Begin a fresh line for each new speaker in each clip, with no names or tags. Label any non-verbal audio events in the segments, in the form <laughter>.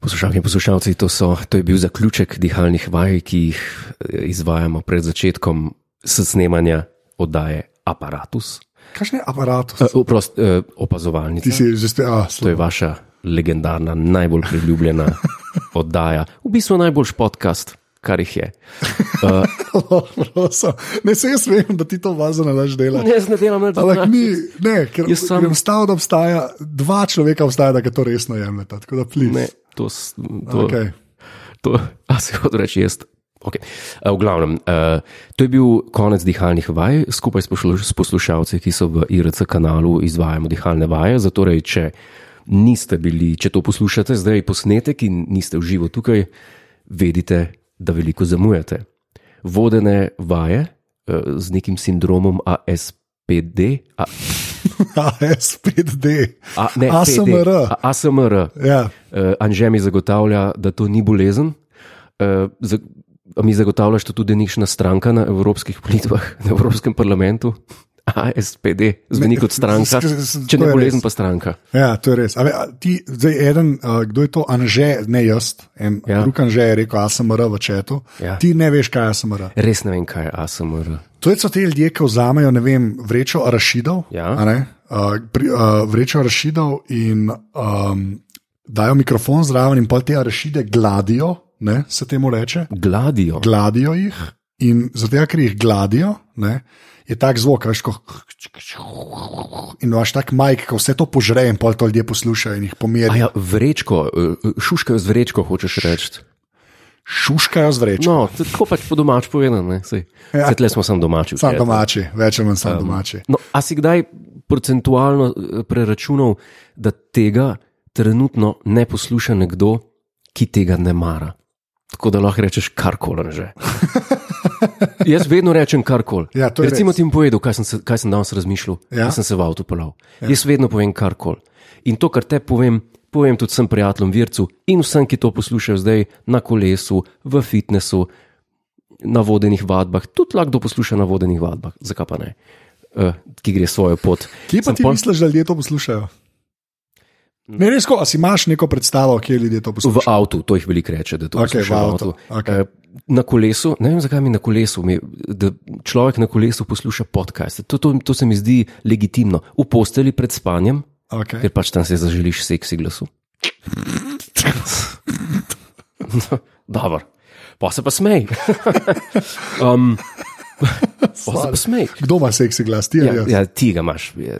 Poslušalke in poslušalci, to, so, to je bil zaključek dihalnih vaj, ki jih eh, izvajamo pred začetkom snemanja oddaje Apparatus.
Kakšen je aparat?
Uh, Oprost, uh, opazovalnica.
Ti si že spet, a <laughs>
To je
slabo.
vaša legendarna, najbolj priljubljena oddaja, v bistvu najboljši podcast, kar jih je.
no, Ne, se jaz vem, da ti to vazo ne daš delati.
Jaz Ja, ne delam več
Ampak ni, ne, ker
Jaz sam-
sem stal, da obstaja, dva človeka obstaja, da to resno jemljeta. Tako da
Ne,
plis.
to, s- to,
<laughs> Okay.
To, <laughs> a se hoče reči jaz. Okay. V glavnem, uh, to je bil konec dihalnih vaj, skupaj s poslu- s poslušalci, ki so v IRC kanalu izvajamo dihalne vaje. Zatorej, če niste bili, če to poslušate, zdaj posnetek in niste v živo tukaj, vedite, da veliko zamujate. Vodene vaje uh, z nekim sindromom ASPD, a,
AS5D.
a, ne, PD,
ASMR.
a, ASMR.
Ja.
Uh, Anže mi zagotavlja, da to ni bolezen. Uh, za, a mi zagotavljaš, da tudi nekšna stranka na evropskih volitvah, <laughs> na Evropskem parlamentu, ASPD, zveni
Ne,
kot stranka.
s- s- s-
Če
to
ne
je
bolezen,
res.
pa stranka.
Ja, to je res. A, ve, a, ti, zdaj, eden, a, kdo je to, Anže, ne jaz, en
Ja.
ja. drug Anže je rekel ASMR v četu.
Ja.
Ja. Ti ne veš, kaj je ASMR.
Res ne vem, kaj je ASMR.
To je, so te ljudje, ki vzamejo ne vem, vrečo arašidov,
Ja.
a ne, uh, pri, uh, vrečo arašidov in um, dajo mikrofon zraven, in pa te arašide gladijo, ne, se temu reče.
Gladijo.
Gladijo jih in zato, ker jih gladijo, ne, je tak zvok, veš, ko. In imaš tak majk, ko vse to požre, in pol to ljudje poslušajo in jih
Ja,
pomerijo.
vrečko, eh, šuškajo z vrečko, hočeš reči.
Šuškajo z vrečo.
No, to je tako pač po domač povedano. ne, saj.
Ja.
Saj Tle smo sam domači.
Sam domači, več ali manj sam domači.
No, a si kdaj procentualno eh, preračunal, da tega trenutno ne posluša nekdo, ki tega ne mara? Tako da lahko rečeš karkoli
<laughs>
že. Jaz vedno rečem karkoli.
Ja, to je
Recimo
res.
ti bom povedal, kaj sem, se, kaj sem danes razmišljal,
Ja.
ja. kaj sem se v avtu pelal. Ja. Jaz vedno povem karkoli. In to, kar te povem, povem tudi vsem prijateljem, vircu in vsem, ki to poslušajo zdaj na kolesu, v fitnesu, na vodenih vadbah, tudi lahko kdo posluša na vodenih vadbah, zakaj pa ne, uh, ki gre svojo pot.
Kje pa
Sem
ti
pol-
misliš, da ljudje to poslušajo? Ne, res, ko, a si imaš neko predstavo, kje ljudje to
V
poslušajo?
avtu, to jih veliko reče, da to
Okej,
poslušajo
v
v
avtu,
avtu.
okej.
Eh, Na kolesu, ne vem zakaj mi na kolesu, mi, da človek na kolesu posluša podcaste. To, to, to se mi zdi legitimno. V posteli pred spanjem,
Okay.
ker pač tam se zaželiš seksi glasu. <laughs> Dobro, pa se pa smej. <laughs> um, pa se pa smej.
Kdo ima seksi glas, ti ali
Ja,
jaz?
ja, ti ga imaš, je,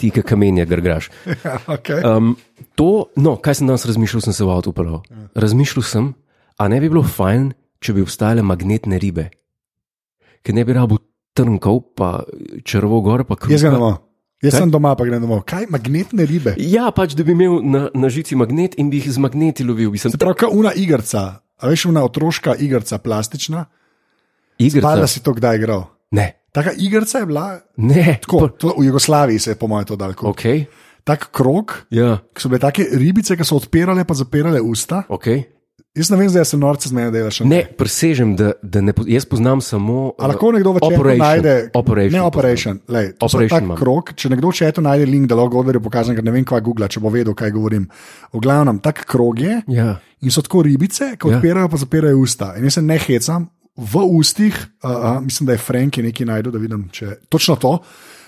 ti, ki kamenje grgraš.
<laughs> Ja, okay.
Um, to, no, kaj sem danes razmišljal, sem se v avtu upal.
Ja.
Razmišljal sem, a ne bi bilo fajn, če bi obstajale magnetne ribe, ki ne bi rabo trnkov, pa črvo gor, pa kruh.
Jaz ga ne bom. Jaz
ja. Kaj?
sem doma, pa grem domov. Kaj magnetne ribe?
Ja, pač da bi imel na, na žici magnet in bi jih z magneti lovil. Bi sem
Se pravi, kot una igrica, a veš, una otroška igrica, plastična. Pa da
igrica.
si to kdaj igral.
Ne,
Taka igrica je bila,
ne,
tako, to, v Jugoslaviji se je, po mojem, to dal. Okay.
Ok,
Tak krok,
ja,
ki so bile take ribice, ki so odpirale pa zapirale usta.
ok.
Jaz ne vem, zdaj se norce z mene delaš.
Ne, presežem, da, da ne, po- jaz poznam samo. eh,
A lahko nekdo v četu
Operation,
najde,
Operation,
ne operation, lej,
Operation
operation
imam.
tak krok, če nekdo v četu najde link, da lahko odverje pokažem, ker ne vem, kaj Google, če bo vedel, kaj govorim. V glavnem, tak krog je
Ja.
in so tako ribice, ki
Ja.
odpirajo, pa zapirajo usta. In jaz se ne hecam, v ustih, uh, mislim, da je Frank je nekaj najdel, da vidim, če točno to.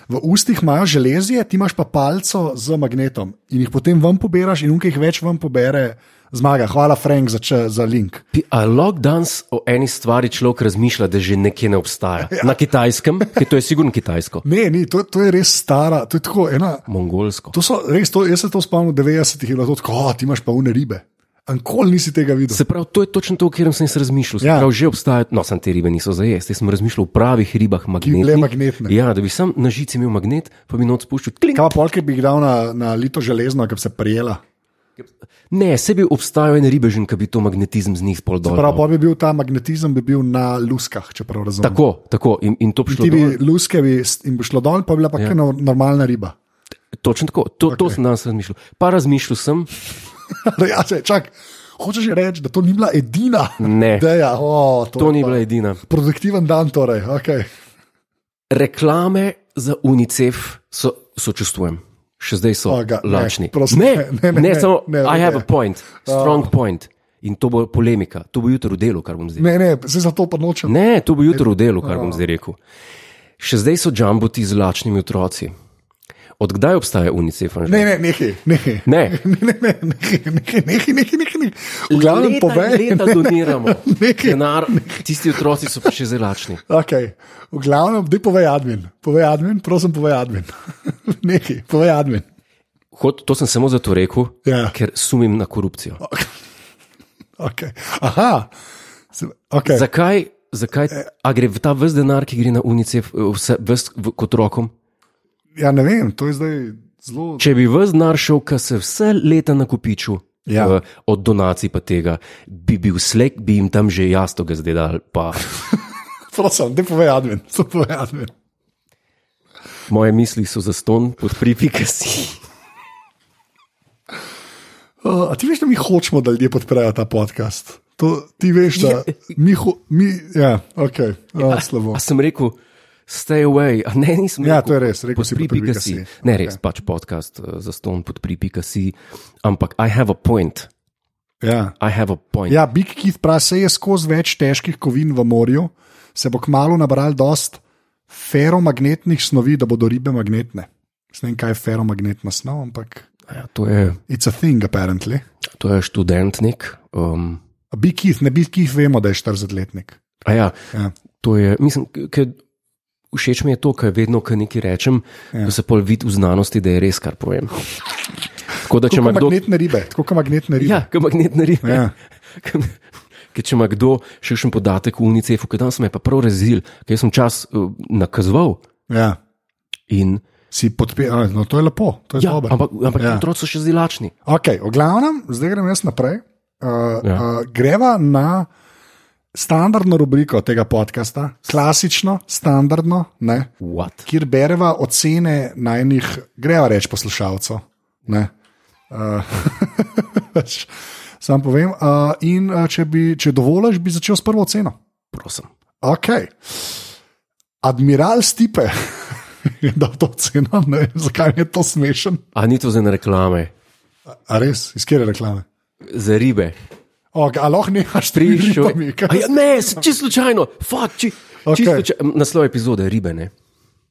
V ustih imajo železje, ti imaš pa palco z magnetom in jih potem ven poberaš, in unkaj jih več ven pobere, zmaga. Hvala, Frank, za, če, za link.
Pi- A lahko danes o eni stvari človek razmišlja, da že nekje ne obstaja. Ja. Na kitajskem, ki to je sigurno kitajsko,
Ne, ni, to, to je res stara, to je tako ena.
mongolsko.
To so res, to, jaz se to spomnim, v 90-ih je bilo to tako, "O, ti imaš pa une ribe. Ankoli nisi tega videl.
Se pravi, to je točno to, o katerem sem jaz razmišljal. Ja.
Ja.
Prav, že obstajajo, no, sem te ribe niso za jesti. Jaz sem razmišljal o pravih ribah, magnetnih.
bile magnetne.
Ja, da bi sam na žici imel magnet, pa bi noč spuščal. Klink.
Kaj pa polke bi jih dal na, na lito železno, ki bi se prijela.
Ne, sebi obstajajo ene ribežen, ki bi to magnetizem z njih pol dol.
Prav, pa bi bil ta magnetizem bi bil na luskah, če prav razumem.
Tako, tako. In, in to bi šlo.
Ti
Bi...
bi luske bi, s- in bi šlo dol, pa bi bila pa ja. normalna riba. <laughs>
Točno tako, to, okay. to sem danes razmišljal. Pa razmišljal sem,
Da, ja, se, čak, hočeš reči, da to ni bila edina
Ne.
ideja. O, to
to
je
ni
pa-
bila edina.
Produktiven dan, torej. Okay.
Reklame za UNICEF so, sočustvujem. še zdaj so
Oh, ga- ne,
lačni.
prosim,
ne,
ne,
ne,
ne, ne,
samo I
ne, ne. Oh.
have a point, strong point. In to bo polemika, to bo jutro v delu, kar bom zdaj
Ne, ne, zdaj za to pa nočem.
Ne, to bo jutro v delu, kar
Oh.
bom zdaj rekel. Še zdaj so džamboti z lačnimi otroci. Odkdaj obstaja UNICEF? Anže?
Ne, ne, nehaj, nehaj.
Ne.
<laughs> ne, ne, ne, nehaj, nehaj, nehaj, nehaj. V glavnem
leta in
povej.
Leta doniramo.
<laughs> Nekaj.
Denar, tisti otroci so pa še zdaj lačni.
Okay. V glavnem, dej povej admin. Povej admin, prosim, povej admin. <laughs> Nekaj, povej admin.
Hod, to sem samo zato rekel,
Ja.
ker sumim na korupcijo.
Okay. Aha, Se- okay.
Zakaj? Zakaj?
Eh.
A gre v ta vse denar, ki gre na UNICEF, eh, vse, vse, v, kot rokom?
Ja, ne vem, to je zdaj zelo. <laughs>
Če bi vse denar šel, kar se vse leta nakupiču,
Ja.
eh, od donacij pa tega, bi bil slek, bi jim tam že jasno ga zdaj dal. Pa
Prosim, dej povej admin. <laughs> To povej admin.
Moje misli so za ston, podpri pika si.
Uh, a ti veš, da mi hočemo, da ljudje podprejo ta podcast. To, ti veš, da mi, ho, mi ja, okay. uh, slabo.
A sem rekel, stay away, a ne nisem
Ja,
rekel.
to je res, rekel si podpri pika si. Ja.
Ne, res, okay. pač podcast eh, za ston, podpri pika si. Ampak I have a point,
Ja.
I have a point.
ja, Big Keith prase je skozi več težkih kovin v morju, se bo kmalo nabral dost feromagnetnih snovi, da bodo ribe magnetne. Jaz Ne vem, kaj je feromagnetna snov, ampak
Ja, to, je,
it's a thing, apparently.
to je študent nek. Um,
A Big Keith, ne Big Keith, vemo, da je 40-letnik.
a ja,
Ja.
to je, mislim, k- k- všeč mi je to, kar vedno, ko nekaj rečem, ja. da se pol vidi v znanosti, da je res, kar povem. Tako da, če
Tako
ima
kot
kdo
magnetne ribe, tako kot magnetne ribe.
Ja, kot magnetne ribe.
Ja.
<laughs> Ke- Ker če ima kdo še kakšen podatek v UNICEF-u, ki danes me je pa prav razil, ker jaz sem čas uh, nakazoval.
Ja.
In,
Si podpiral, no to je lepo, to je
ja,
dobro.
ampak ampak ja.
Ja.
otroci so še zdaj lačni.
Okay, v glavnem, zdaj grem jaz naprej.
Ja.
Uh, ja. uh, greva na standardno rubriko tega podcasta, klasično, standardno, ne,
What?
kjer bereva ocene najnih, greva reč poslušalcev. ne. Uh, <laughs> Sam povem. Uh, in uh, če, bi, če dovoliš, bi začel s prvo oceno.
Prosim.
Ok. Admiral Stipe <laughs> je dal to ceno, ne vem, zakaj mi je to smešen.
A ni to za ene reklame,
A res, iz kje reklame?
za ribe.
Okay, ali lahko nehaš tri
Prišel.
ribami?
A Ja, ne, s- čisto slučajno, fakt, či, okay.
Okej.
čisto slučajno. Naslov epizode je ribe. Ne?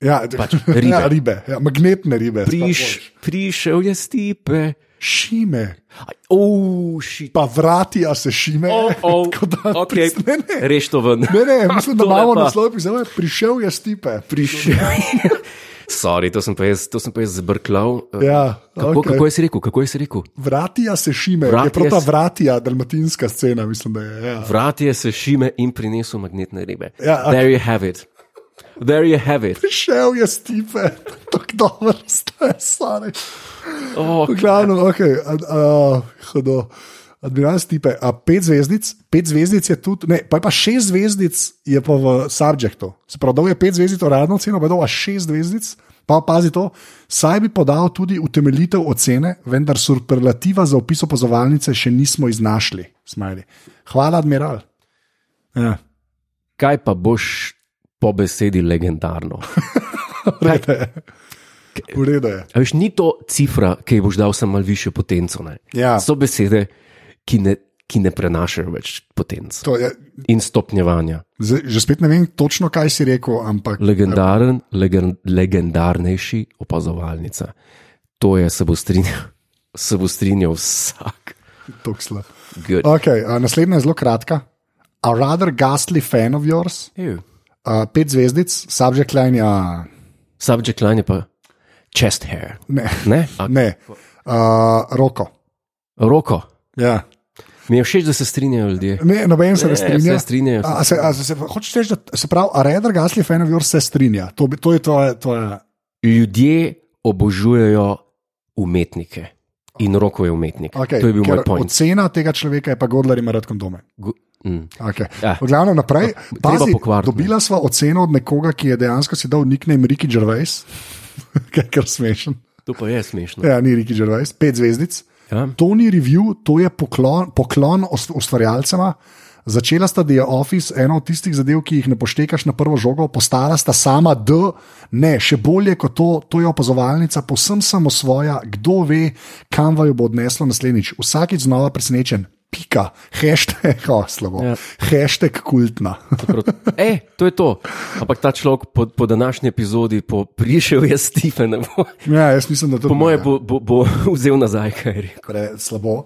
Ja,
pač ribe.
<laughs> ja, ribe ja, magnetne ribe. sploh bolj.
Priš, prišel je stipe.
Šime,
Oši.
pa vratijo se šime.
Oh, oh,
oh, <laughs> Tako da,
okay.
pris- ne, ne,
Reš to ven.
ne,
<laughs>
ne, mislim, da
Tole
imamo
pa.
naslov pisal, prišel je stipe.
prišel.
<laughs>
Sorry, to sem pa jaz, to sem pa jaz zbrklal.
Ja,
Kako,
okej.
okay. kako je si rekel? Kako je si rekel?
Vratijo se šime,
Vratija
je prav ta
se-
vratija, dalmatinska scena, mislim, da je. Ja.
Vrat je se šime in prinesel magnetne ribe.
Ja, okej.
There you have it. There you have
<laughs>
it.
Prišel je stipe, <laughs> tako dobro, <laughs> stare, stare.
Oh,
V glavnem, ok, ad, a, hodo. Admiral Stipe, a pet zvezdic, pet zvezdic je tudi, ne, pa je pa šest zvezdic je pa v Subjectu. Se pravi, dal je pet zvezdic uradno ceno, pa je dal a šest zvezdic, pa pazi to, saj bi podal tudi utemeljitev ocene, vendar superlativa za opis opazovalnice še nismo iznašli. Smajli. Hvala, admiral. Ja,
kaj pa boš po besedi legendarno?
urede je. Urede je.
A veš, ni to cifra, ki ji boš dal samo malo više potenco. Ne?
Ja.
So besede, ki ne, ki ne prenašajo več potenc
To je.
in stopnjevanja.
Zdaj, že spet ne vem točno, kaj si rekel, ampak
Legendaren, legen, legendarnejši opazovalnica. To je se bo strinjal, <laughs> se bo strinjal vsak.
tako slabo.
Good.
Okay, uh, naslednja je zelo kratka. A rather ghastly fan of yours,
Ew.
uh, pet zvezdic, subject line, ja,
Subject line je pa chest hair.
ne,
Ne? A,
ne, uh, roko.
roko.
Ja.
Mi je všeč, da se strinjajo ljudje.
Ne, noben se
Ne,
ne
Ja, se
strinja.
strinjajo, se
A, a se, a se, se, hočeš reči, da se pravi, a rather ghastly fan of yours se strinja. To, bi- to je tvoje. tvoje.
Ljudje obožujejo umetnike. In roko je umetnik.
Okay,
to je bil
ker
moj point.
Ocena tega človeka je pa Godler ima rad kondome.
Go, mm.
Okay.
Ja.
Ja. Glavno naprej.
treba
Pazi,
pokvariti, ne.
dobila sva oceno od nekoga, ki je dejansko si dal nickname Ricky Gervais, <laughs> kaj je smešen.
To pa je smešno.
Ja, ni Ricky Gervais, pet zvezdic.
Ja.
To ni review, to je poklon, poklon ust- ustvarjalcema. Začela sta The Office, ena od tistih zadev, ki jih ne poštekaš na prvo žogo, postala sta sama D, Ne, še bolje kot to, to je opazovalnica, posem samo svoja, kdo ve, kam vaju bo odneslo naslednjič. Vsakič znova presenečen, pika, hashtag, <laughs> oh, slabo,
Ja.
ja. hashtag kultna. <laughs>
E, to je to. Ampak ta človek po, po današnji epizodi, po prišel je Stephen,
ja, jaz mislim, da to
po mojem bo, bo, bo <laughs> vzel nazaj, kaj je rekel.
pre slabo.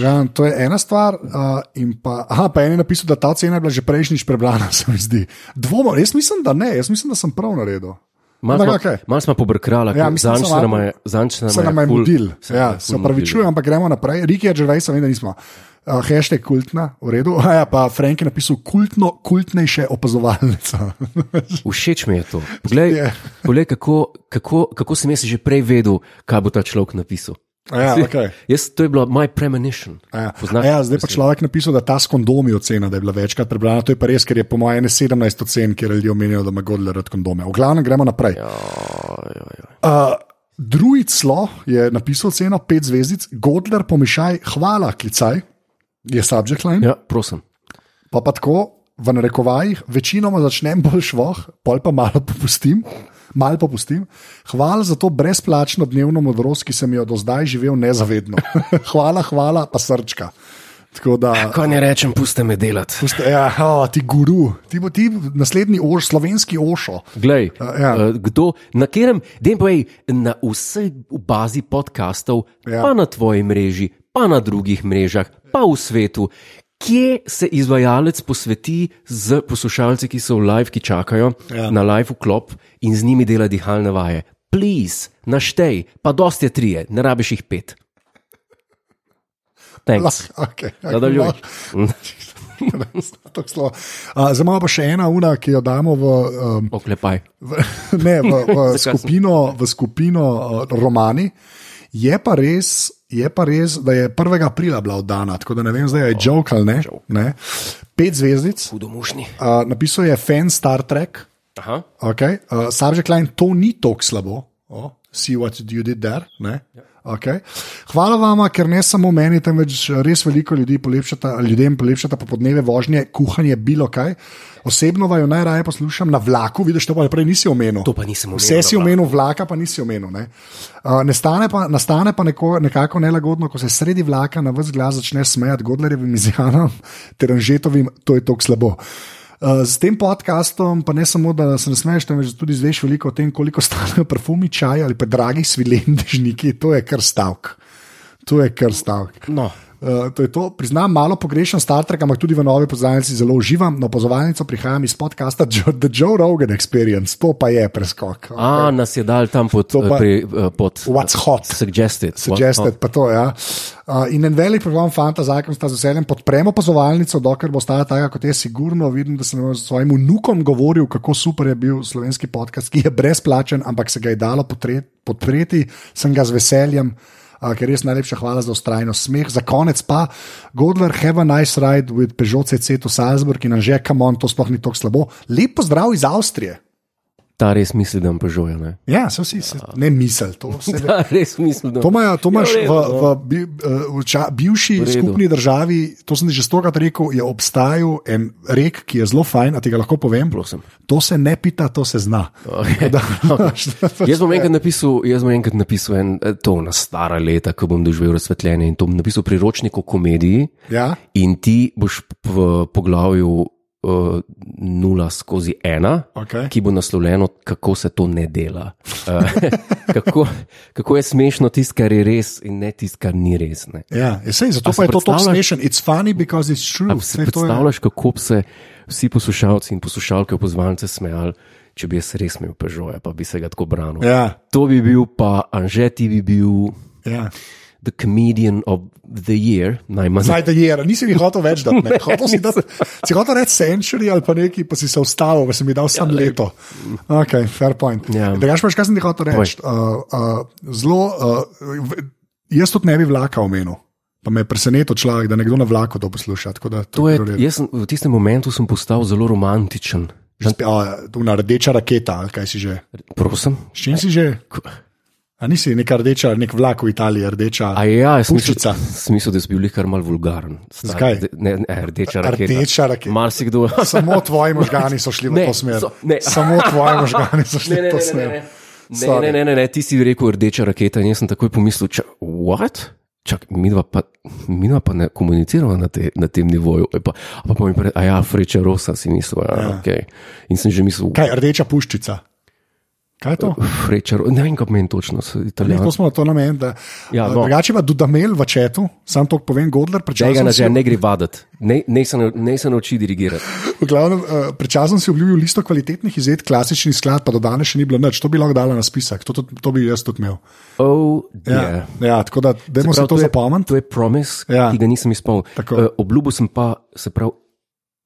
Ja, to je ena stvar. Uh, in pa, aha, pa en je napisal, da ta cena je bila že prejšnjič prebrana, <laughs> se mi zdi. Dvomo, jaz mislim, da ne, jaz mislim, da sem prav naredil.
Malo
Ampak
smo,
okej.
mal smo pobrkali,
Ja,
ja,
mislim,
zanj
da
se
so
nam
malo-
je zanj
Se nam je
ful-
mudil,
se nam je
ja,
ful
se upravičujem, ampak gremo naprej. Riki je že veš, da nismo. Uh, hashtag kultna, v redu. A ja, pa Frank je napisal kultno, kultnejše opazovalnica.
mudil. Všeč mi je to. Poglej,
Je.
poglej kako, kako, kako sem jaz že prej vedel, kaj bo ta človek napisal.
<laughs> A ja,
Si-
okej.
Jaz, to je bila my premonition.
A Ja.
Poznaš-
A Ja, zdaj pa človek napisal, da ta s kondomi ocena, da je bila večkrat prebrana. To je pa res, ker je po mojem 17 ocen, kjer ljudje omenijo, da ima Godler rad kondome. V glavnem gremo naprej. Uh, Druid Slo je napisal ceno 5 zvezdic, Godler pomešaj, hvala, klicaj, je subject line. Ja.
Ja, prosim.
Pa pa tako, v narekovajih, večinoma začnem bolj švoh, pol pa malo popustim. Mal popustim. Hvala za to brezplačno dnevno modrost, ki sem jo do zdaj živel nezavedno. <laughs> hvala, hvala, pa srčka. Tako da.
Kaj ne rečem, pusti me delati.
Pusti, ja, oh, ti guru, ti bo ti naslednji oš, slovenski ošo. <laughs>
Glej,
ja.
ja. kdo, na katerem, den povej, na vsej bazi podkastov, ja.
Ja.
pa na tvoji mreži, pa na drugih mrežah, pa v svetu, kje se izvajalec posveti z poslušalci, ki so v live, ki čakajo ja.
Ja.
na live vklop in z njimi dela dihalne vaje. Please, naštej, pa dost je trije, ne rabiš jih pet. Thanks.
Okay,
Nadaljuj.
no. <laughs> Zdaj imamo pa še ena ura, ki jo damo v, um,
Oklepaj.
v, <laughs> ne, v, v
Zakaj sem-
skupino, v skupino uh, romani. Je pa, res, je pa res, da je 1. aprila bila oddana, tako da ne vem,
Oh,
zdaj je joke ali ne. ne. Pet zvezdic,
Hudomušni.
uh, napisal je fan Star Trek,
Aha.
Okay. Uh, Subject line, to ni tako slabo. Oh, see what you did there. ne?
Ja.
Okay. Hvala vama, ker ne samo meni, temveč res veliko ljudi polepšata, ljudem polepšata popodneve vožnje, kuhanje, bilo kaj. Osebno vaju najraje poslušam na vlaku, vidiš, to pa prej nisi omenil.
To pa nisem omenil na
Vse si
vlaku.
omenil, vlaka pa nisi omenil. Ne? Uh, nastane pa, nastane pa neko, nekako nelagodno, ko se sredi vlaka na vse glas začne smejati Godlerjevim izjavam <laughs> ter Anžetovim, to je tako slabo. Uh, Z tem podcastom pa ne samo, da se ne smeješ, temveč tudi izveš veliko o tem, koliko stanejo <laughs> parfumi, čaj ali pa dragi svileni dežniki. To je kar stavek. To je kar stavek.
No.
Uh, to je to. Priznam, malo pogrešam Star Trek, ampak tudi v novi poznavalnici zelo uživam. Na opozovalnico prihajam iz podcasta jo The Joe Rogan Experience, to pa je preskok.
A, nas je dal tam pod,
To
pa,
pa-
pri, eh, pod
What's hot?
Suggested.
Suggested, pa to, ja. Uh, in en velik program fanta za akom sta z veseljem podpremo opazovalnico, dokler bo ostala taka kot je, sigurno vidim, da sem s svojim vnukom govoril, kako super je bil slovenski podcast, ki je brezplačen, ampak se ga je dalo potre- podpreti, sem ga z veseljem. Uh, ker res najlepša hvala za ustrajno smeh. Za konec pa, Godler, have a nice ride with Peugeot CC to Salzburg in Anže, come on, to sploh ni tako slabo. Lep pozdrav iz Avstrije.
No, Ta res misli, da jim požuje. Ne?
Ja, se vsi, se, ne misel, to vse
Ta res misli, da
To imaš, to imaš
Ja, v
v,
redu,
v, bi, eh, v ča, bivši
V redu.
skupni državi, to sem ti že stokrat rekel, je obstajal en rek, ki je zelo fajn, a ti ga lahko povem.
Prosim.
To se ne pita, to se zna.
Okay.
<laughs>
<laughs>
Da, pač
Jaz bom enkrat napisal, jaz bom enkrat napisal en, eh, to na stara leta, ko bom doživel razsvetljenje in to bom napisal priročnik o komediji
ja,
in ti boš p- v poglavju uh, 0 skozi 1,
okay.
ki bo naslovljeno, kako se to ne dela. Eh, <laughs> kako, kako je smešno tisto, kar je res in ne tisto, kar ni res. Ne.
ja. ja, sej,
A
zato
si
pa je to tako
predstavljaš-
smešen. It's funny because it's true.
A Si
Saj to je-
predstavljaš, kako bi se vsi poslušalci in poslušalke opozvalnice smejali, če bi jaz res imel pežoja, pa bi se ga tako branil.
Ja,
To bi bil pa Anže, ti bi bil
ja.
the comedian of the year, najmanj.
Zdaj, da je, nisi mi hotel več dati.
<laughs>
ne. Hotel si, dat, si hotel reči century ali pa nekaj, pa si se ustavil, pa si mi dal sam ja, leto. Ok, fair point.
Ja.
Ja. Da, gaš, kaj sem ti hotel reči? Uh, uh, zelo, uh, v- jaz tudi ne bi vlaka omenil. Pa me je presenetil človek, da nekdo na vlaku to posluša. tako Da,
To je,
v redu.
jaz sem, v tistem momentu sem postal zelo romantičen.
Že spe- a, tu na rdeča raketa, ali kaj si že.
Prosim,
S čim si že? A nisi nek rdeča, nek vlak v Italiji, rdeča.
A ja, jaz mislim,
Puščica.
mislim, da si bil kar mal vulgaren. Stari,
Zakaj?
de- Ne, ne, rdeča raketa.
Rdeča raketa.
Marsikdo.
Samo tvoji možgani so šli v
Ne,
to smer.
so- ne.
Samo tvoji možgani so šli
Ne, ne,
v to
ne, ne,
smer.
ne. Ne,
Sorry.
ne, ne, ne, ne, ti si rekel rdeča raketa in jaz sem takoj pomislil, čak, what? Čak, midva pa, midva pa ne komunicirava na, te, na tem nivoju. E pa, a pa, pa mi pred, a ja, freča rosa si mislil, ja, ja. ok. In sem že mislil,
Kaj, rdeča puščica. Kaj je to?
Ja. freča rosa, ne vem, kaj meni točno, so
Ne,
italijani.
to smo na to namen. Da,
Ja,
ja,
no.
no. Drugače pa Dudamel v četu, sam to povem, Godler,
Tega
prečasno
ne,
si,
ne gre vaditi, ne, ne, se nau- ne se nauči dirigirati.
v glavnem, eh, prečasno si obljubil listo kvalitetnih izvedb, klasični sklad, pa do danes še ni bilo nič, to bi lahko dala na spisek, to, to, to bi jaz tudi imel.
Oh, dear.
Ja, ja, tako da, dajmo se, se to
je-
zapomniti.
To je promise, ja.
Ja.
ki ga nisem izpolnil.
Tako.
Uh, obljubil sem pa, se pravi,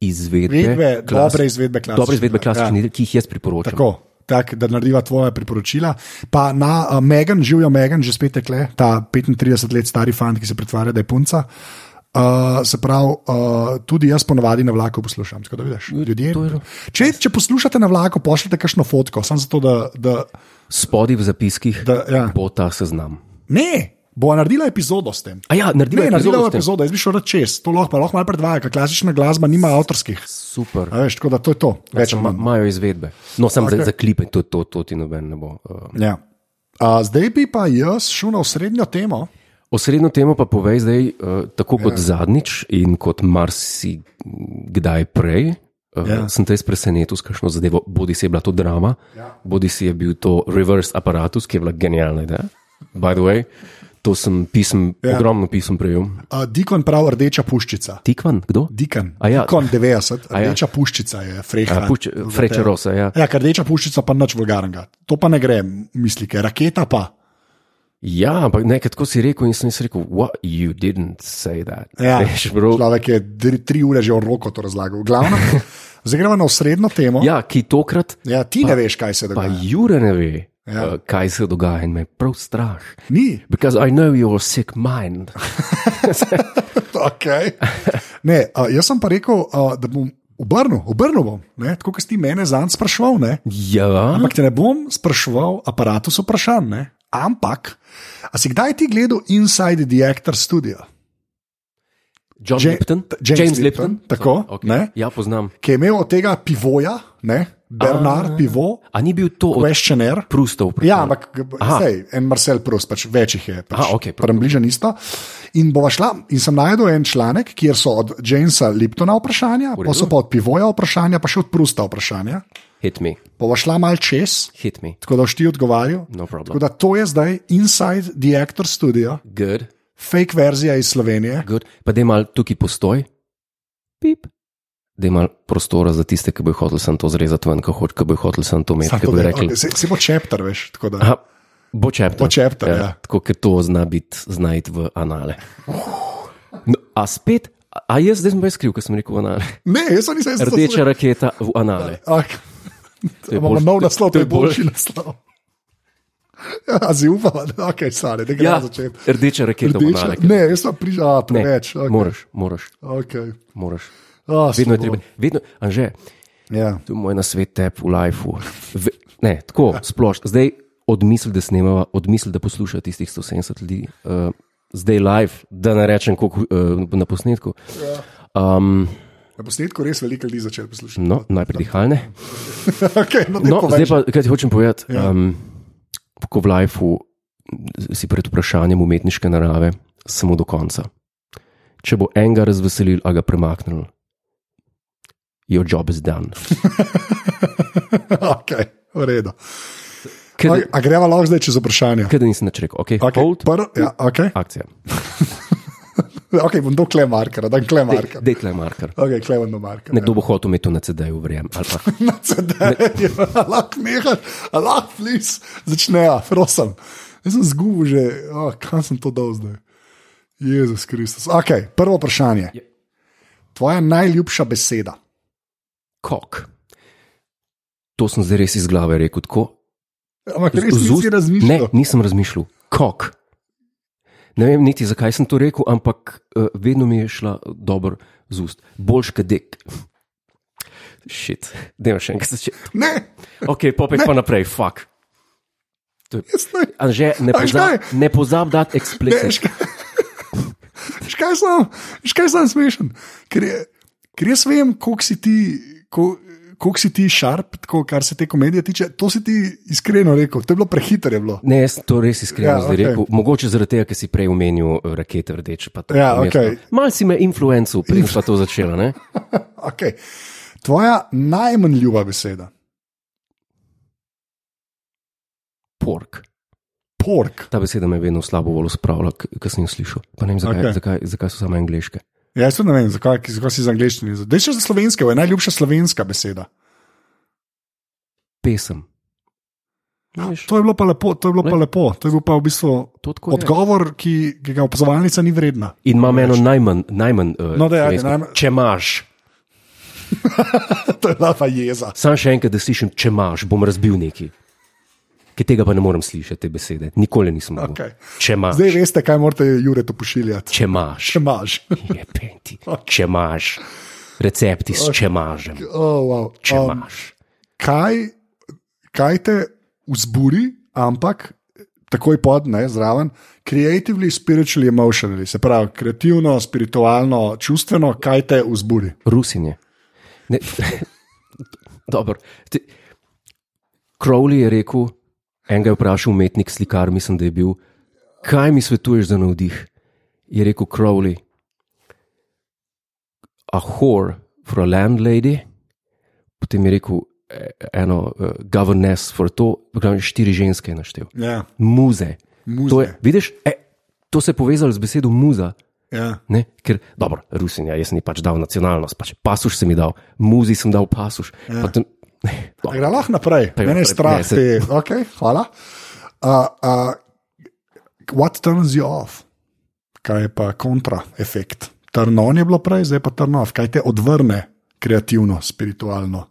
izvedbe,
Izvedbe,
klasi-
dobre izvedbe klasične,
Dobre izvedbe klasične, ja. ki jih jaz priporočam.
Tako, tak, da narediva tvoje priporočila. Pa na uh, Megan, živijo Megan, že spet tekle, ta 35 let stari fant, ki se pretvarja, da je punca. Uh, se pravi, uh, tudi jaz ponovadi na vlaku poslušam. tako da vidiš, Ljudje, če, če poslušate na vlaku, pošljite kakšno fotko, samo zato, da, da
Spodaj v zapiskih da,
Da,
ja.
ja.
bo ta seznam.
ne, bo naredila epizodo s tem.
A ja, naredila
Ne,
je
naredila
epizodo
bo
s tem.
epizodo, jaz bi šel rad čez, to lahko, pa lahko malo predvaja, ker klasična glasba nima avtorskih.
Super.
A Veš, tako da to je to, več ali
Ma-
manj.
Imajo izvedbe. No, sem okay. za, za
Ok.
klipe, to, to, to ti noben ne bo. Uh,
Ja. Uh, zdaj bi pa jaz šel na osrednjo temo.
osrednjo temo pa povej zdaj, uh, tako kot ja. zadnjič in kot marsikdaj prej. Uh, ja.
Ja.
Sem te presenetil s kakšno zadevo, bodi si je bila to drama, ja.
Ja.
bodi si je bil to reverse aparatus, ki je bila genialna ideja. By the way, to sem pisem, ja.
Ja.
ogromno pisem prejel.
Uh, Dikon pravi rdeča puščica.
Tikvan, kdo?
Dikan,
A ja.
Dikon 90,
A ja.
rdeča ja. puščica je freha.
Puč, Freča Rosa, ja.
Ja, ker rdeča puščica pa nič vulgarnega. To pa ne gre, mislike. Raketa pa.
Ja, ampak nekaj tako si rekel in sem jaz rekel, what, you didn't say that.
Ja,
Veš, bro,
človek je dri- tri ure že v roko to razlagal.
<laughs>
Glavno, zdaj gremo na osrednjo temo.
ja
Ja,
ki tokrat
ja ti pa, ne veš, kaj se
pa
dogaja.
Jure ne ve, ja.
Ja.
uh, kaj se dogaja in me je prav strah.
Ni, <laughs>
Because I know your sick mind.
okay. ne, uh, jaz sem pa rekel, uh, da bom obrnil, obrnil bom, ne, tako kot si ti mene zanj sprašval. Ne.
Ja,
Ampak te ne bom spraševal, aparatus vprašanj. Ne? Ampak, a si kdaj ti gledal Inside the Actor Studio,
John
Ja-
Lipton,
James Lipton, tako, ne.
Ja, poznam.
ki je imel od tega pivoja, ne? Bernard Pivot,
A ni bil to od
questionnaire.
Prustov?
Ja, ampak g-
Aha.
sej, en Marcel Prus, pač več jih je. Pač,
Aha, okej, Proust.
Prebližen isto. In bova šla, in sem najdel en članek, kjer so od Jamesa Liptona vprašanja, pa so pa od Pivoja vprašanja, pa še od Prusta vprašanja.
Hit me,
Bova šla mal čez,
hit me.
tako da boš ti odgovarjal.
No problem.
Tako da to je zdaj Inside the Actor Studio.
Good,
fake verzija iz Slovenije.
good. Pa da imaš tukaj postoj, pip. Da imaš prostora za tiste, ki bojo hoteli sem to zrezati ven, ki hoč- ki bojo hoteli sem to imeti, ki bojo rekli.
Si bo čepter, veš. tako da-
Aha, bo čepter.
Bo chapter, ja.
Tako, ker to zna biti, zna iti v anale. No, a spet, a- a jaz zdaj sem brez kriv, ker sem rekel
<laughs>
anale.
Ne, jaz sem nisem
Rdeča raketa v anale.
Imamo
boljš-
nov naslov,
to
to
je
je boljši naslov. Ja, zupava, da okay, stane, ne gre
Ja,
ja, začeti.
rdeča raketa v anale.
Ne, jaz sem prišel,
Ne,
preveč. ok,
Moraš, moraš,
Okay.
moraš.
Oh,
Vedno je treba. Vedno, anže,
Ja.
to je moj nasvet tep v lifeu. Ve- Ne, <laughs> tako splošno. Zdaj odmisli, da snemava, odmisli, da posluša tistih 170 ljudi, uh, zdaj live, da ne rečem, koliko uh, na posnetku. Um,
Na posnetku res veliko ljudi začeli poslušati.
no, najprej dihalne.
okay, no,
No, zdaj
pa...
pa, kaj ti hočem povedati. Ja. Um, ko v lifeu si pred vprašanjem umetniške narave, samo do konca. Če bo enega razveselil, a ga premaknil, your job is done.
okay, v redu.
Kaj
A, a greva lahko zdaj čez vprašanje.
kaj da nisem nič rekel, ok, okay.
Okay,
hold,
prv, ja, okay.
akcija.
okay, bom do klemarkera, da klemarker.
Dej tle marker.
Okay, klevan do markera.
Nekdo bo hotel imeti to na CD-ju, verjamem. ali pa-
na CD-ju, lahko nehaš, lahko flis, začnejo, prosim. Jaz sem zgubil že, oh, kam sem to dal zdaj. Jezus Kristus. Okay, prvo vprašanje. Tvoja najljubša beseda.
Kok. To sem zdaj res iz glave rekel, tako Z-
Ampak res
z ust-
nisi
Ne,
razmišljal.
nisem razmišljal, kok. Ne vem niti, zakaj sem to rekel, ampak uh, vedno mi je šla dobro z ust. Boljš, kot dek. Šit, da imaš še enkrat začeti.
Ne,
Ok, popek pa naprej, fuck. To je-
Jaz ne-
Anže, ne
A veš
pozabi,
kaj?
ne pozabi dati
Ne,
eksplicit.
škaj, škaj sem, škaj sem smešen. Ker, je- ker jaz vem, koliko si ti. Ko, Kako si ti šarp, tako, kar se te komedije tiče, to si ti iskreno rekel, to je bilo prehitro. Je bilo.
Ne, jaz to res iskreno
Ja,
ja, zdaj
okej.
okay. rekel. Mogoče zaradi tega, ker si prej omenil eh, rakete rdeče. pa to
Ja,
namesto.
okej.
Mal si me influencu, preden sva to začela. Ne?
Okay. Tvoja najmanj ljuba beseda,
Pork.
pork.
Ta beseda me je vedno v slabo voljo spravila, ker sem jo slišal. Pa ne vem, zakaj,
Okej.
okay. zakaj, zakaj so samo angliške.
Ja, jaz tudi ne vem, zakaj, zakaj si iz angleščine. Zdaj še za slovenske, je najljubša slovenska beseda.
Pesem. Veš,
To je bilo pa lepo, to je bilo pa lepo, to je bil pa v bistvu
to tako je.
odgovor, ki, ki ga opazovalnica ni vredna.
In imam eno najmanj, najmanj uh,
No, daj, ajde, najmanj-
če imaš,
<laughs> to je bila pa jeza.
sam še enkrat, da slišim, če imaš, bom razbil neki. Ker tega pa ne morem slišati, te besede. Nikoli nisem mogel.
Okej.
Če imaš,
Zdaj veste, kaj morate Juretu pošiljati.
če imaš,
Če imaš.
Jepen ti, če imaš, recepti s če imaš,
<laughs> Oh, wow.
če
um,
imaš.
kaj, kaj te vzburi, ampak takoj pod, ne zraven, creatively, spiritually, emotionally, se pravi kreativno, spiritualno, čustveno, kaj te vzburi.
Rusinje. Ne, <laughs> dobro. Ti, Crowley je rekel, enega je vprašal umetnik, slikar, mislim, da je bil, kaj mi svetuješ za navdih? Je rekel Crowley, a whore for a landlady, potem je rekel eh, eno uh, governess for to, v glavnem štiri ženske je naštel.
Ja,
Muze.
Muze.
To, je, vidiš, e, to se je povezalo z besedo muza.
ja.
Ne? Ker, dobro, Rusinja, jaz sem ji pač dal nacionalnost, pač pasuš sem ji dal, muzi sem dal pasuš. Ja. Potem, no,
A Gre lahko naprej,
Pa gre
mene je
naprej.
strah,
Ne, se-
te, okay, hvala. Uh, uh, what turns you off? Kaj je pa kontra efekt? Trnon je bilo prej, zdaj pa trnov. Kaj te odvrne kreativno, spiritualno,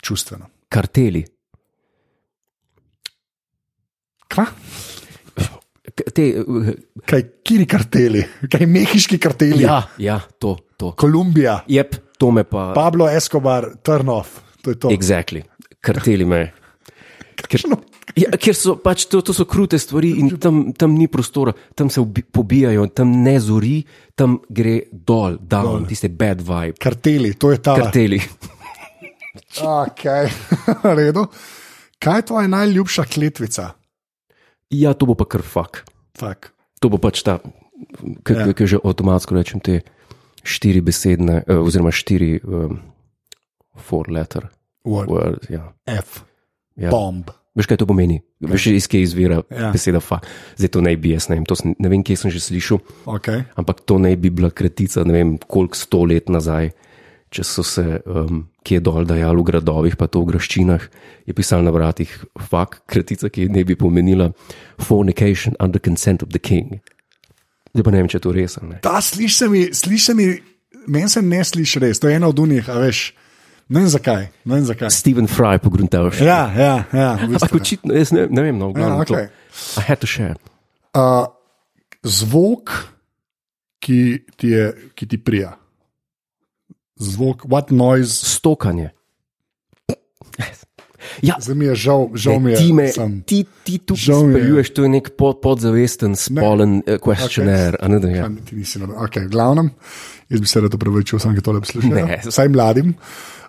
čustveno?
karteli.
Kva?
K- Te, eh,
Kaj kiri karteli, kaj mehiški karteli,
ja, ja, to, to.
Kolumbija,
Jep, to me pa.
Pablo Escobar, trnov. To je to. <laughs>
Exactly. Karteli me.
Kakšno-
Ja, ker so pač to, to so krute stvari in tam, tam ni prostora, tam se ubi- pobijajo, tam ne zori, tam gre dol, down, dol. tiste bad vibe,
Karteli, to je ta.
karteli.
<laughs> Okay. redu. kaj je tvoja najljubša kletvica?
Ja, to bo pa kar fakt.
Tak.
To bo pač ta,
Ja.
ki ja. že avtomatsko rečem, te štiri besedne, eh, oziroma štiri um, four-letter
Word.
words. Ja.
F.
Ja.
Bomb.
Veš, kaj to pomeni? Veš, iz kje izvira ja.
Ja.
beseda fa. Zdaj to naj bi jaz, ne vem, to sem, ne vem, kje sem že slišal,
Okay.
ampak to naj bi bila kratica, ne vem, koliko sto let nazaj. Če so se um, kje dol dajali v gradovih, pa to v graščinah, je pisal na vratih fakt, kratica, ki naj bi pomenila fornication under consent of the king. Zdaj pa ne vem, če je to res ali ne.
Ta sliši se mi, sliši se mi, meni se ne sliši res, to je ena od unih, a veš. Ne vem zakaj. Ne vem zakaj.
Steven Fry pogruntal še.
Ja, ja, ja. v bistvu,
<laughs> Ampak
ne.
očitno, jaz ne, ne vem, no, glavno, ja,
Ja, okej.
okay. to. I had to share.
Uh, zvok, ki ti, je, ki ti prija. Zvok, what noise,
Stokanje. Ja,
zdaj mi je žal, žal mi
ne,
je.
ti, me,
sem-
ti, ti tu
Žal mi je.
speljuješ, to je nek pod, podzavesten, spolen uh, questionnaire. a Ne, da, ja.
A, Ti nisi na okay, glavnem. Jaz bi se rad upravičil, sem ki tole
Ne.
poslušal. Vsaj mladim.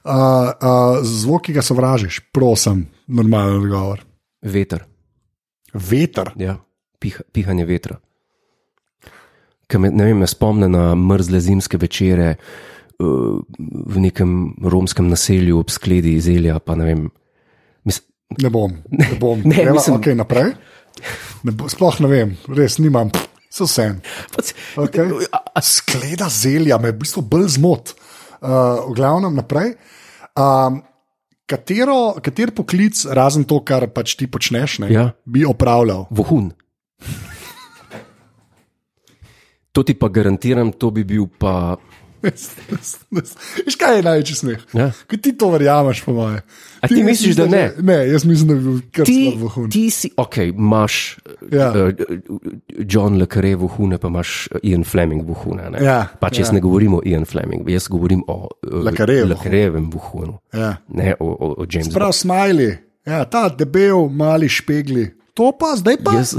Uh, uh, zvok, ki ga sovražiš, prosim, normalen odgovor.
Veter,
Veter.
ja. Piha, pihanje vetra. Ki me, ne vem, me spomne na mrzle zimske večere uh, v nekem romskem naselju ob skledi iz Elja. Pa ne vem. Mis,
Ne bom, ne bom.
Ne,
Greva,
mislim-
okay, naprej. Ne bo, sploh ne vem, res nimam, pff, so vse.
pa, se-
Okay. Skleda zelja me v bistvu bolj zmot. Uh, v glavnem naprej. Um, katero, kater poklic, razen to, kar pač ti počneš, ne,
Ja.
bi opravljal?
Vohun. To ti pa garantiram, to bi bil pa.
Veš, kaj je največji smeh?
Ja.
Ko ti to verjameš, po moje.
A ti
jaz
misliš, da ne?
Ne, jaz mislim, da bi bil kar
Ti,
slab vohun.
ti si, ok, imaš
Ja.
ja. uh, John Le Carre vohune, pa imaš eh, Ian Fleming vohune. ne?
Ja,
pač jaz
ja.
ne govorim o Ian Flemingu, jaz govorim o uh,
Le Carrejevu.
Le Carrejevem vohunu,
Ja.
ne o, o, o Jamesu.
Prav smajli, ja, ta debel, mali špegli, to pa zdaj pa.
Jaz-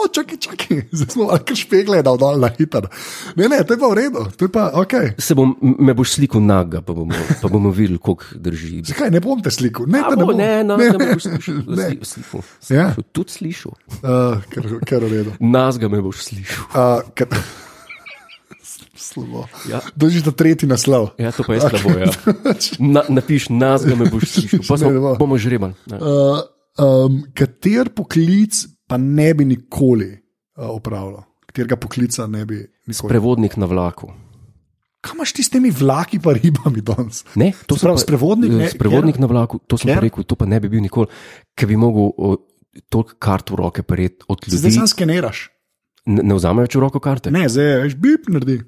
O, čakaj, čakaj, zdaj smo lahko špegle dal dol na hiter. Ne, ne, to je pa v redu, to je pa ok.
Se bom, me boš slikal naga, pa bomo, pa bomo videli, koliko drži. <laughs>
Zakaj ne bom te slikal? Ne,
A
te ne
bo,
bom.
ne, no, <laughs> ne, boš slišal,
ne.
sli- slišal.
Ja.
Slišal, Tudi slišal.
Uh, ker, ker v redu.
Nas ga me boš slišal.
Uh, ker... <laughs> Slabo.
Ja.
Dožite tretji naslov.
Ja, to pa je slabo. Ja. <laughs> Na, napiš, nas ga me boš slišal. Pa
Ne, ne bo.
smo, bomo žrebali. Ne.
Uh, um, kater poklic pa ne bi nikoli uh, opravljal, katerega poklica ne bi nikoli.
Prevodnik na vlaku.
Kaj imaš ti s temi vlaki pa ribami danes?
Ne, to sem
pravi,
pa-
sprevodnik, ne,
Sprevodnik na vlaku, to sem pa
ker-
rekel, to pa ne bi bil nikoli, ker bi mogel o, toliko kart v roke prijeti od
Zdaj
ljudi.
samo skeniraš.
Ne, ne vzamejo več v roko karte.
Ne, zdaj veš, bip naredi,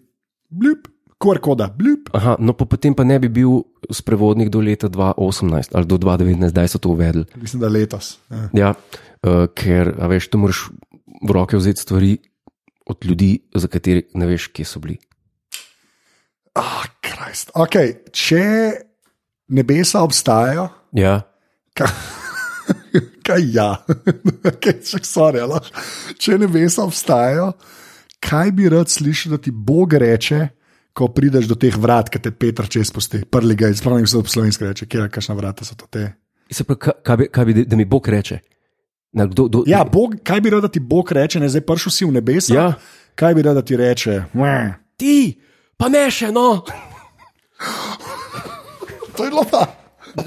blip, kor koda, blip.
Aha, no pa potem pa ne bi bil sprevodnik do leta 2018 ali do 2019, zdaj so to uvedli.
Mislim, da letos. Ja.
Ja, uh, ker, a veš, tu moraš v roke vzeti stvari od ljudi, za katere ne veš, kje so bili.
Ah, krist. Okay, če nebesa obstajajo,
Ja,
Ka- Kaj ja, <laughs> okay, če, sorry, a lahko- če nebesa obstajajo, kaj bi rad slišal, da ti Bog reče, ko prideš do teh vrat, ki te Petr čez pusti, prli ga, spomnim se, da po slovenski reče, kje kakšna vrata so to te.
se pravi, ka- kaj bi, kaj bi, da mi Bog reče. Na, kdo, do,
Ja, Bog, kaj bi rad, da ti Bog reče, ne zdaj pršel si v nebesa,
Ja.
kaj bi rad, da ti reče? "Meh."
ti, pa ne še no, <laughs>
To je lova,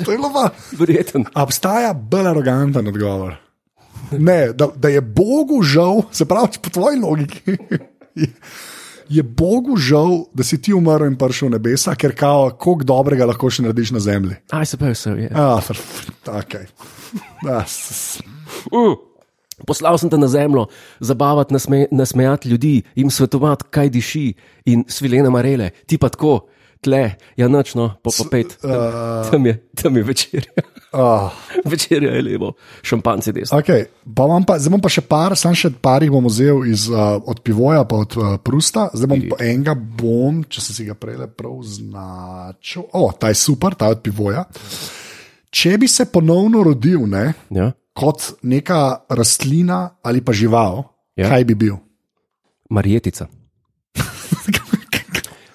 to je lova.
verjeten.
A Obstaja bolj aroganten odgovor. Ne, da, da je Bogu žal, se pravi, po tvoji logiki. je- Je Bogu žal, da si ti umrl in prišel v nebesa, ker kao, koliko dobrega lahko še narediš na zemlji.
Aj se pravi, se ja. je.
Ah, okay. ah, s- s-
Mm. Poslal sem te na zemljo, zabavati, nasme, nasmejati ljudi, jim svetovati, kaj diši in svilene marele, ti pa tako, tle, ja nočno, pa pa pet, tam, tam, je, tam je <laughs> večerja,
ah.
večerja je levo, šampanci desno.
Okay. Pa imam pa, zdaj bom pa še par, samo še par jih bom vzel iz, uh, od Pivoja, pa od uh, Prusta. Zdaj bom pa enega, bom, če sem si ga prej le prav značil. O, ta je super, ta je od Pivoja. Če bi se ponovno rodil ne,
Ja?
kot neka rastlina ali pa žival, ja.
Ja.
kaj bi bil?
Marjetica.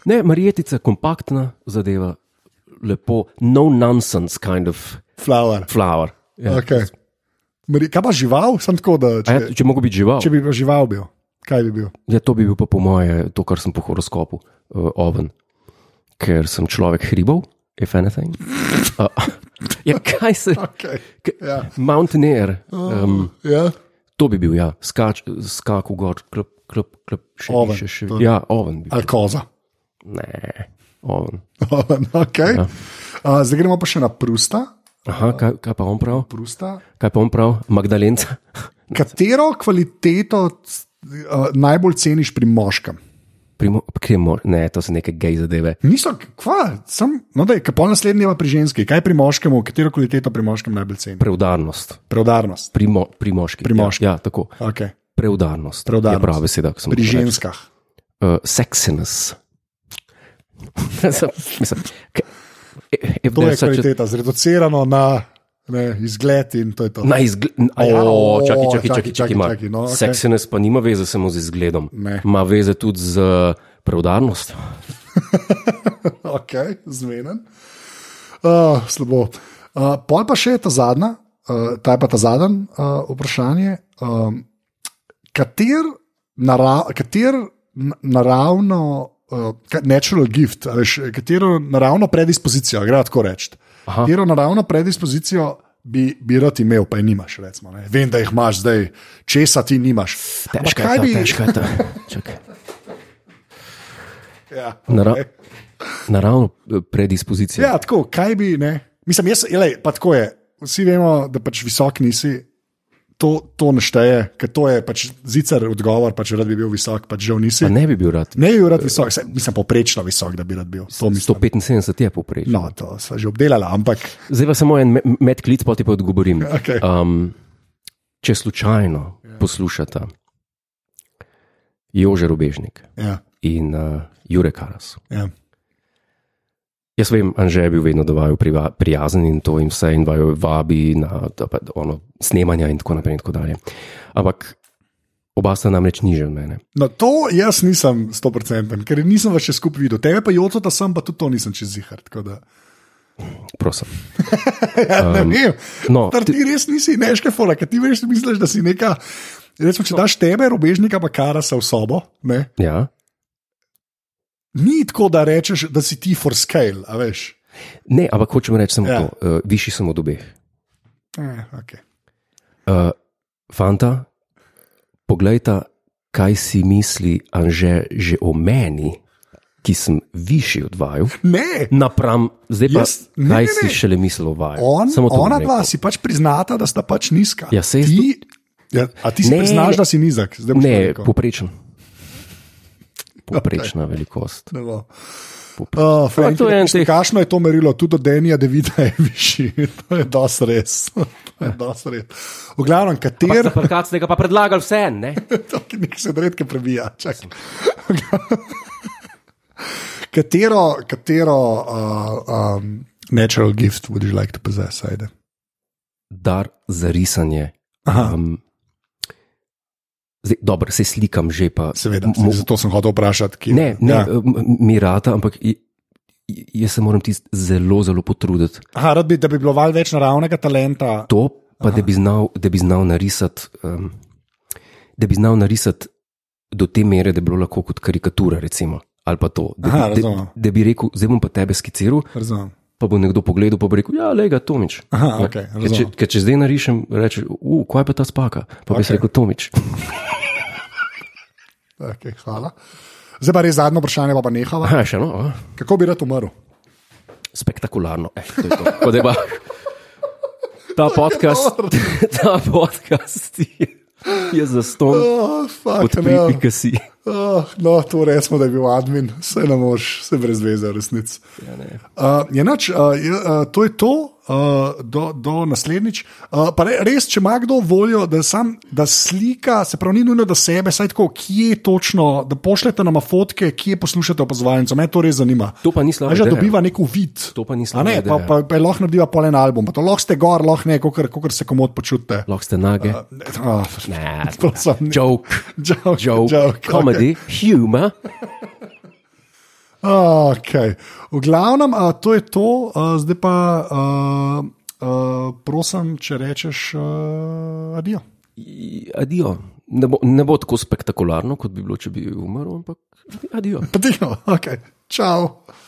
Ne, marjetica, kompaktna zadeva, lepo, no nonsense kind of
Flower.
flower. Ja.
Okay. Mari- Kaj pa žival, sem tako, da
A
če,
Ja, če mogo biti žival,
če bi pa žival bil, kaj bi bil?
ja, to bi bil pa po moje, to, kar sem po horoskopu, uh, oven, ker sem človek hribov, if anything. <laughs> Uh, ja, kaj se.
Okay.
K,
Ja.
Mountaineer, um,
Ja.
to bi bil, ja, skač, skak v gor, klop, klop, klop, še
Oven,
Še, še, ja, oven. Bi,
Ali koza.
ne, oven.
<laughs> okay. ja. uh, zdaj gremo pa še na Prusta.
Aha, kaj, kaj pa on prav?
Prusta.
Kaj pa on prav? Magdalenca. <laughs>
Katero kvaliteto uh, najbolj ceniš pri moškem?
Primo, kremo, ne, to so neke gej zadeve.
Niso, kva, sem, no, da je kapol naslednji pa pri ženski. Kaj pri moškem, katero kvaliteto pri moškem najbolj ceniš?
Preudarnost.
Preudarnost.
Pri, mo, pri moških.
Pri moških.
Ja, ja, tako.
Okay.
Preudarnost.
Preudarnost.
Je prava beseda, ki sem
Pri
jo rekel.
ženskah.
uh, sexiness. Mislim, k- if- if
To je
there's such a-
kvaliteta, zreducirano na ne, izgled in to je to.
Na izgled, a ja,
O,
o, čakaj, čakaj,
čakaj,
čakaj,
čakaj,
čakaj, ima.
čakaj, no, okej.
Sexiness pa nima veze samo z izgledom,
Ne.
ima veze tudi z uh, preudarnostjo.
Ok, zmeden. Uh, slabo. Uh, pol pa še ta zadnja, uh, ta je pa ta zadnji uh, vprašanje. Um, kater, nara, kater n- naravno, uh, ka- natural gift, a veš, katero naravno predispozicijo, gre tako reči.
Aha.
Katero naravno predispozicijo bi, bi rad imel, pa je nimaš. Recimo, ne? Vem, da jih imaš zdaj, česa ti nimaš. Ampak
Težka
kaj
je ta,
bi-
težka
<laughs>
je ta. Čakaj.
Ja,
Nara,
okej.
naravno eh, predispozicija.
Ja, tako, kaj bi ne. Mislim, jaz, lej, pa tako je. Vsi vemo, da pač visok nisi. To, to ne šteje, ker to je pač zicer odgovor, pač rad bi bil visok, pač žal nisi.
Pa ne bi bil rad.
Ne bi bil rad visok, saj mislim, poprečno visok, da bi rad bil. To mislim.
175 je poprečje.
No, to sva že obdelala, ampak <laughs>
Zdaj pa samo en me- medklic, pa ti pa odgovorim.
okay.
Um, če slučajno poslušate Jože Rubežnik
ja,
in uh, Jurek Karas,
ja.
Jaz vem, Anže je bil vedno dovolj priva- prijazen in to jim vse in vaju vabi na da pa ono, snemanja in tako naprej in tako dalje. Ampak oba sta namreč niže od mene.
No, to jaz nisem 100%, ker nisem več skupaj videl. Tebe pa joto, da sem pa tudi to nisem čez zihar. tako da- <laughs>
Prosim.
Ja, ne vem.
no,
Tar, ti res nisi neška fola, ker ti veš, misliš, da si neka.
No.
Recimo, če daš tebe, robežnika, pa karasa v sobo, ne?
Ja.
ni tako, da rečeš, da si ti for scale, a veš.
Ne, ampak hočem reči samo
Ja.
ja. to. Uh, višji sem od obeh.
Eh, okay.
Uh, fanta, poglejta, kaj si misli Anže že o meni, ki sem višji od vaju.
Ne,
Napram, zdaj pa
Jaz- ne,
kaj
ne, ne.
si šele mislil o vaju.
on,
Samo to bom
ona
rekel.
dva si pač priznata, da sta pač nizka.
Ja, saj jaz
ti, ja, a ti si
Ne.
priznaš, da si nizek. Zdaj boš
Ne,
rekel. <laughs>
poprečen. Poprečna velikost.
Ne no. bo.
Popr-
Uh, Frank,
A to je en teh-
kakšno je to merilo, tudi od Denija, da vidi, da je višji. <laughs> to je dosti res. <laughs> to je dosti res. V glavnem, kater.
Zaprkat ste ga pa predlagali vse, ne?
<laughs> To, ki nek se redke prebija. čakaj. <laughs> katero katero uh, um, natural gift would you like to possess? Ajde.
Dar za risanje.
Aha,
Um, zdaj, dobro, se slikam že pa.
seveda,
m-
mo, zato sem hotel vprašati. Kje,
Ne, ne,
Ja.
ja. mi rata, ampak j- j- jaz se moram tisti zelo, zelo potruditi.
Aha, rad bi, da bi bilo val več naravnega talenta.
To, pa da bi, znal, da bi znal narisati, um, da bi znal narisati do te mere, da bi bilo lahko kot karikatura, recimo. Ali pa to, da,
Aha,
bi,
razumem.
da, da bi rekel, zdaj bom pa tebe skiciral,
Razumem.
pa bo nekdo pogledal in rekel: Ja, le ga Tomič.
Aha,
Ja.
okej,
ker, če,
razumem.
ker če zdaj narišem, rečeš: Uf, kaj pa ta spaka? Pa bi okay.
Okej.
rekel: Tomič.
Okay, hvala. Zdaj pa res zadnje vprašanje, pa, pa
<laughs>
nehava.
Aha, še no, a?
Kako bi rad umrl?
spektakularno. Eh, to je to. Tako da je pa- Ta podcast, <laughs> ta podcast je, je zaston
<laughs> Oh, fuck,
pod
ne.
piki, ki si.
Oh, no, to rečemo, da je bil admin, vse ne moš, vse brez veze, resnic. Ja, uh, enač, uh, je, uh, to je to, uh, do, do naslednjič. Uh, pa re, res, če ima kdo voljo, da, sam, da slika, se pravi, ni nujno, da sebe, saj tako, kje točno, da pošljete nama fotke, kje poslušate opazovalnico, me to res zanima.
To pa ni slabo.
A že dobiva nek uvid.
To pa ni
A
slabo.
ne, pa, pa, pa lahko narediva polen album, pa to lahko ste gor, lahko ne, kot se komod počutite.
Lahko ste nage.
Oh,
Ne, <laughs>
prosim,
joke,
<laughs> joke,
joke, joke comedy, okay. humor.
Okay. V glavnem, a, to je to, a, zdaj pa a, a, prosim, če rečeš a, adijo.
I- Adijo. Ne bo, ne bo tako spektakularno, kot bi bilo, če bi umrl, ampak adijo.
Adijo, okay. čau.